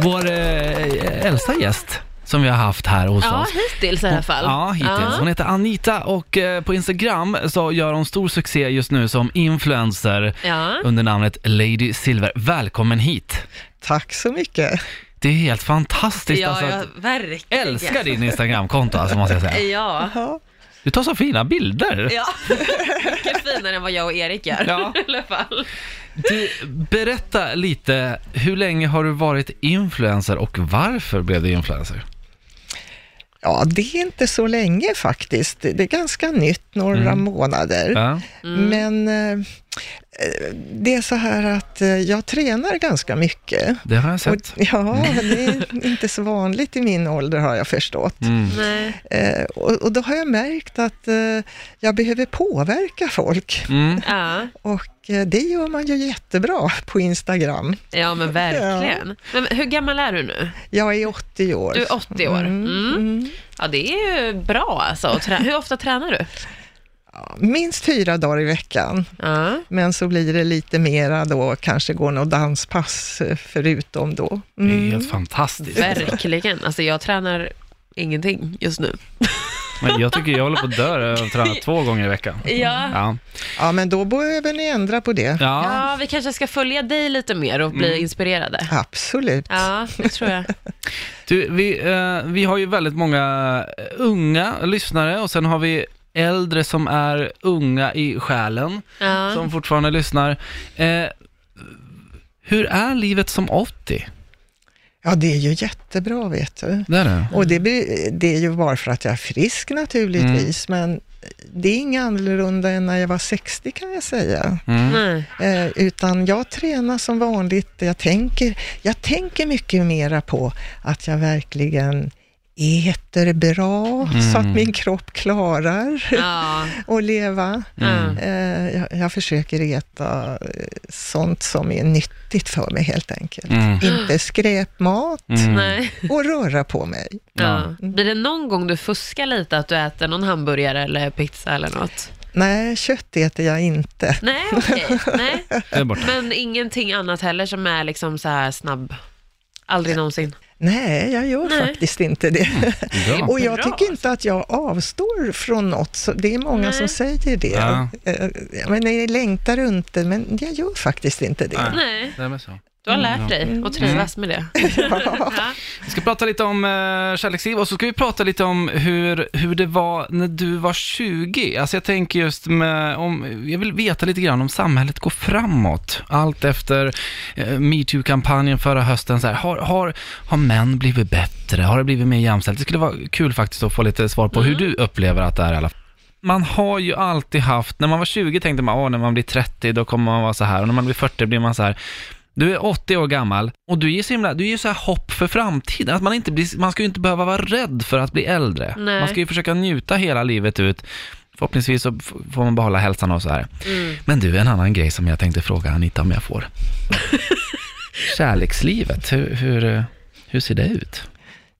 vår eh, äldsta gäst som vi har haft här hos Ja, oss. hittills i alla fall. Ja, hittills. Hon heter Anita och eh, på Instagram så gör hon stor succé just nu som influencer Ja. under namnet Lady Silver. Välkommen hit! Tack så mycket. Det är helt fantastiskt Ja, alltså. ja, att- verkligen. Älskar din Instagramkonto alltså måste jag säga. Ja, Ja, Du tar så fina bilder. ja. mycket finare än vad jag och Erik gör Ja. i alla fall. Du, berätta lite, hur länge har du varit influencer och varför blev du influencer? ja det är inte så länge faktiskt. Det är ganska nytt, några månader. Mm. Mm. Ja. Men eh, eh, det är så här att eh, jag tränar ganska mycket. Det har jag Och, sett. ja, det är inte så vanligt i min ålder har jag förstått. Mm. Nej. Eh, och, och då har jag märkt att eh, jag behöver påverka folk. Mm. Ja. Och eh, det gör man ju jättebra på Instagram. ja, men verkligen. Men hur gammal är du nu? Jag är 80 år. Du är 80 år. Mm. Ja, det är ju bra alltså. att trä- Hur ofta tränar du? Ja, Minst fyra dagar i veckan. Ja. Men så blir det lite mera då, kanske går något danspass eh, förutom då. Det Mm. är helt fantastiskt. Verkligen. Alltså jag tränar ingenting just nu. Men jag tycker jag håller på att dö av att träna två gånger i veckan. Ja. Ja. Ja, men då behöver ni ändra på det. ja. ja, vi kanske ska följa dig lite mer och bli Mm. inspirerade. Absolut. Ja, det tror jag. Du, vi, eh, vi har ju väldigt många eh, unga lyssnare och sen har vi äldre som är unga i själen, Ja. som fortfarande lyssnar. Eh, hur är livet som 80? Ja, det är ju jättebra, vet du. Det är det. Och det, blir- det är ju bara för att jag är frisk naturligtvis, men det är inget annorlunda än när jag var 60 kan jag säga. Mm. Nej. Eh, utan jag tränar som vanligt. Jag tänker, jag tänker mycket mera på att jag verkligen äter bra, så att min kropp klarar Ja. att leva. Mm. Eh, jag, jag försöker äta eh, sånt som är nyttigt för mig helt enkelt. Mm. Inte skräpmat Mm. Nej. och röra på mig. Ja. Blir det någon gång du fuskar lite att du äter någon hamburgare eller pizza eller något? Nej, kött äter jag inte. Nej, okej. Nej. Det är borta. Men ingenting annat heller som är liksom så här snabb? Aldrig någonsin? Nej, jag gör Nej. Mm, faktiskt inte det. Bra. Och jag Bra. tycker inte att jag avstår från något. Så det är många Nej. som säger det. Ja. Eh, Men jag längtar inte, men jag gör faktiskt inte det. Nej, Det är väl så. du har lärt dig Mm. och trivas med det. Ja. Vi ska prata lite om eh, kärleksliv och så ska vi prata lite om hur, hur det var när du var 20. Alltså jag tänker just med, om, jag vill veta lite grann om samhället går framåt. Allt efter eh, metoo-kampanjen förra hösten. Så här, har, har, har män blivit bättre? Har det blivit mer jämställt? Det skulle vara kul faktiskt att få lite svar på hur du upplever att det är i alla fall. Mm. Man har ju alltid haft, när man var 20 tänkte man, åh, när man blir 30 då kommer man vara så här och när man blir 40 blir man så här. Du är 80 år gammal och du är så himla, du är ju så här hopp för framtiden. Att man, inte blir, man ska ju inte behöva vara rädd för att bli äldre. Nej. Man ska ju försöka njuta hela livet ut. Förhoppningsvis så f- får man behålla hälsan och så här. Mm. Men du, en annan grej som jag tänkte fråga Anita om jag får. Kärlekslivet, hur, hur, hur ser det ut?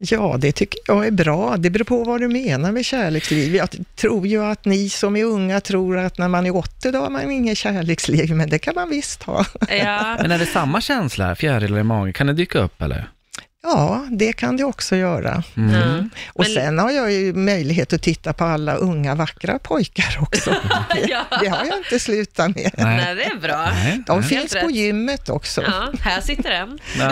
Ja, det tycker jag är bra. Det beror på vad du menar med kärleksliv. Jag tror ju att ni som är unga tror att när man är 80 då har man ingen kärleksliv, men det kan man visst ha. Mm. Ja. Men är det samma känsla, fjärilar i magen, kan det dyka upp eller? Ja, det kan det också göra. Mm. Ja. Och Men- sen har jag ju möjlighet att titta på alla unga vackra pojkar också. Ja. Det har jag inte slutat med. Nej, det är bra. Nej. De Nej. finns rätt. på gymmet också. Ja, här sitter den. Ja,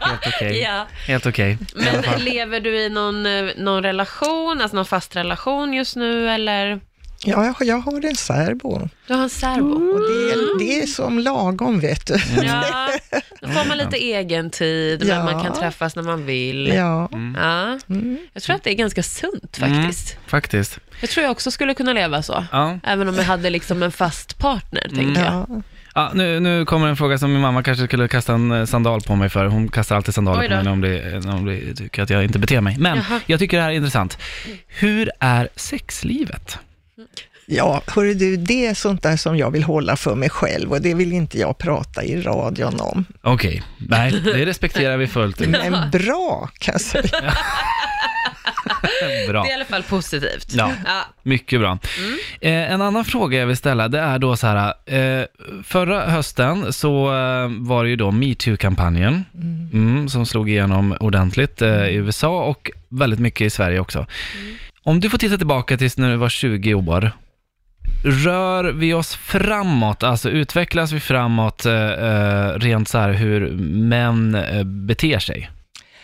Ja, helt okej. Ja. Helt okej. I alla fall. Men lever du i någon, eh, någon relation, alltså någon fast relation just nu eller? ja jag, har- jag har en särbo. Du har en särbo. Och det, är, det är som lagom, vet du. Mm. Ja, då får man lite egen tid, men Ja. man kan träffas när man vill. Ja. Ja, Jag tror att det är ganska sunt faktiskt. Faktiskt. Jag tror jag också skulle kunna leva så. Ja. Även om jag hade liksom en fast partner, tänker jag. ja. Ja, nu, nu kommer en fråga som min mamma kanske skulle kasta en eh, sandal på mig för. Hon kastar alltid sandaler Oj på då. mig när hon, blir, eh, när hon blir, tycker att jag inte beter mig. Men Jaha. jag tycker det här är intressant. Hur är sexlivet? ja hörru du, det är sånt där som jag vill hålla för mig själv och det vill inte jag prata i radion om. Okej, nej, det respekterar vi fullt ut. Men bra, kan jag säga. Bra. Det är i alla fall positivt. Ja. Ja. Mycket bra. Eh, en annan fråga jag vill ställa, det är då så här, eh, förra hösten så eh, var det ju då metoo-kampanjen mm, som slog igenom ordentligt eh, i USA och väldigt mycket i Sverige också. Om du får titta tillbaka tills när du var 20 år, rör vi oss framåt, alltså utvecklas vi framåt eh, eh, rent så här hur män eh, beter sig?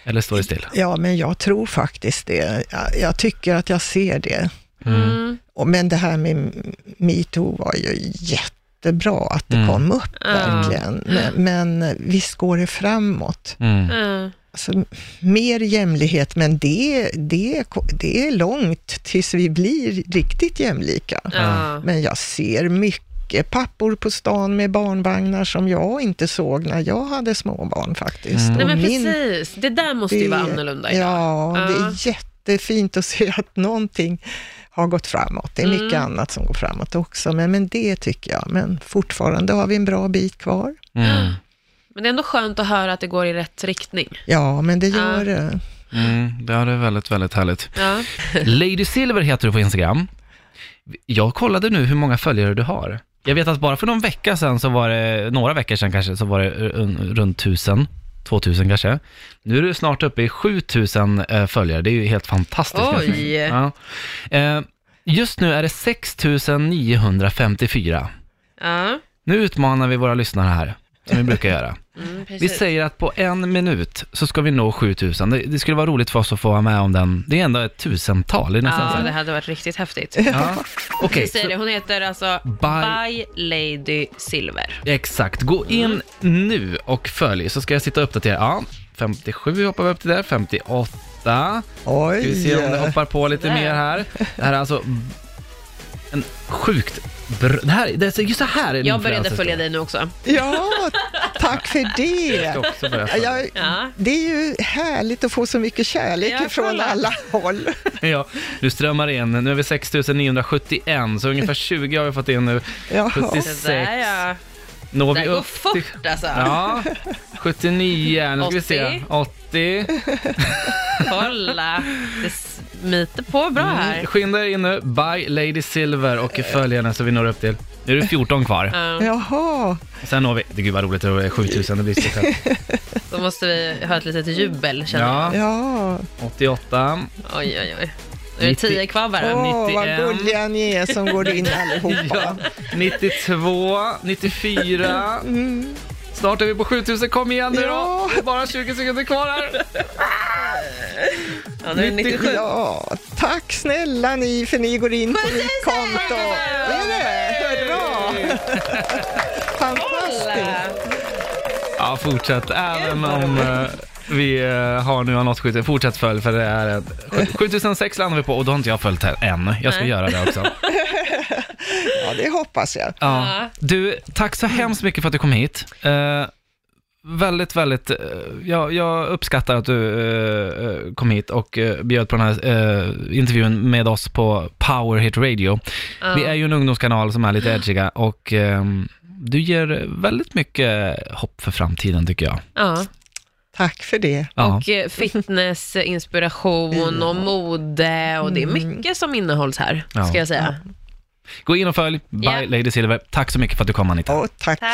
Eller står det still? Ja, men jag tror faktiskt det. Jag, jag tycker att jag ser det. Mm. Och, men det här med metoo var ju jättebra att det Mm. kom upp Ja. verkligen. Men, men visst går det framåt. Mm. Mm. Alltså, mer jämlighet, men det, det, det är långt tills vi blir riktigt jämlika. Ja. Men jag ser mycket pappor på stan med barnvagnar som jag inte såg när jag hade småbarn faktiskt. Mm. Nej Och men min- precis, det där måste ju vara det- annorlunda idag. Ja, det Ja. är jättefint att se att någonting har gått framåt. Det är mycket Mm. annat som går framåt också, men, men det tycker jag. Men fortfarande har vi en bra bit kvar. Mm. Men det är ändå skönt att höra att det går i rätt riktning. Ja, men det gör Ja. det. Mm. Det här är väldigt, väldigt härligt. Ja. Lady Silver heter du på Instagram. Jag kollade nu hur många följare du har. Jag vet att bara för någon vecka sedan så var det, några veckor sedan kanske, så var det eh, runt 1000, 2000 kanske. Nu är du snart uppe i 7000 eh, följare, det är ju helt fantastiskt. kan jag Oj. säga. Ja. Eh, Just nu är det 6954. Ja. Nu utmanar vi våra lyssnare här, som vi brukar göra. Mm, Vi precis. säger att på en minut så ska vi nå 7000. Det, det skulle vara roligt för oss att få vara med om den. Det är ändå ett tusental. Det är nästan så ja, här- det hade varit riktigt häftigt. Ja. Okej, Vi säger det, hon heter alltså Bye. By Lady Silver. exakt. Gå in nu och följ, så ska jag sitta och uppdatera. Ja, 57 hoppar vi upp till där, 58. Oj! Ska vi se om det hoppar på lite Där. mer här. Det här är alltså en sjukt br- det här, det är så- just så här är en Jag började influencer. följa dig nu också. Ja, tack för det. Jag ska också börja följa. Jag, Ja. det är ju härligt att få så mycket kärlek Ja, från kolla. alla håll. Ja, du strömmar in. Nu är vi 6971, så ungefär 20 har vi fått in nu. Ja. Precis. Det där ja. Når Det vi där går upp till... fort alltså. Ja, 79. Nu ska vi se. 80. Kolla. Det smiter på bra här. Mm, skynda er in nu, by Lady Silver och följ henne så vi når upp till, nu är det 14 kvar. Ja. Jaha, Sen når vi, det gud vad roligt, det är 7000, det blir så skönt. Då måste vi ha ett litet jubel känner jag. Ja, ja. 88, Oj, oj, oj. Nu är det 10 kvar bara. Åh, vad 91. gulliga ni är som går in ja, allihopa. 92, 94. Snart är vi på 7000, kom igen nu då! Ja. Det är bara 20 sekunder kvar här. Ja, nu är det 97. Ja, tack snälla ni för ni går in på mitt konto. Är det? Hurra! Fantastiskt! Ja, fortsätt, även om eh, vi eh, har nu annonsskytte, fortsätt följ för det är en- 7006 landar vi på och då har inte jag följt här än. Jag ska Nej. göra det också. Ja, det hoppas jag. Ja. Ja. Du, tack så hemskt mycket för att du kom hit. Eh, väldigt, väldigt, eh, jag, jag uppskattar att du eh, eh, kom hit och eh, bjöd på den här eh, intervjun med oss på Power Hit Radio. Ja. Vi är ju en ungdomskanal som är lite edgiga och ehm, du ger väldigt mycket hopp för framtiden tycker jag. Ja. Tack för det. Ja. Och eh, fitness, inspiration och mode och det är mycket som innehålls här, Ja. ska jag säga. Gå in och följ, by Ja. Lady Silver. Tack så mycket för att du kom Anita. Och tack. Tack.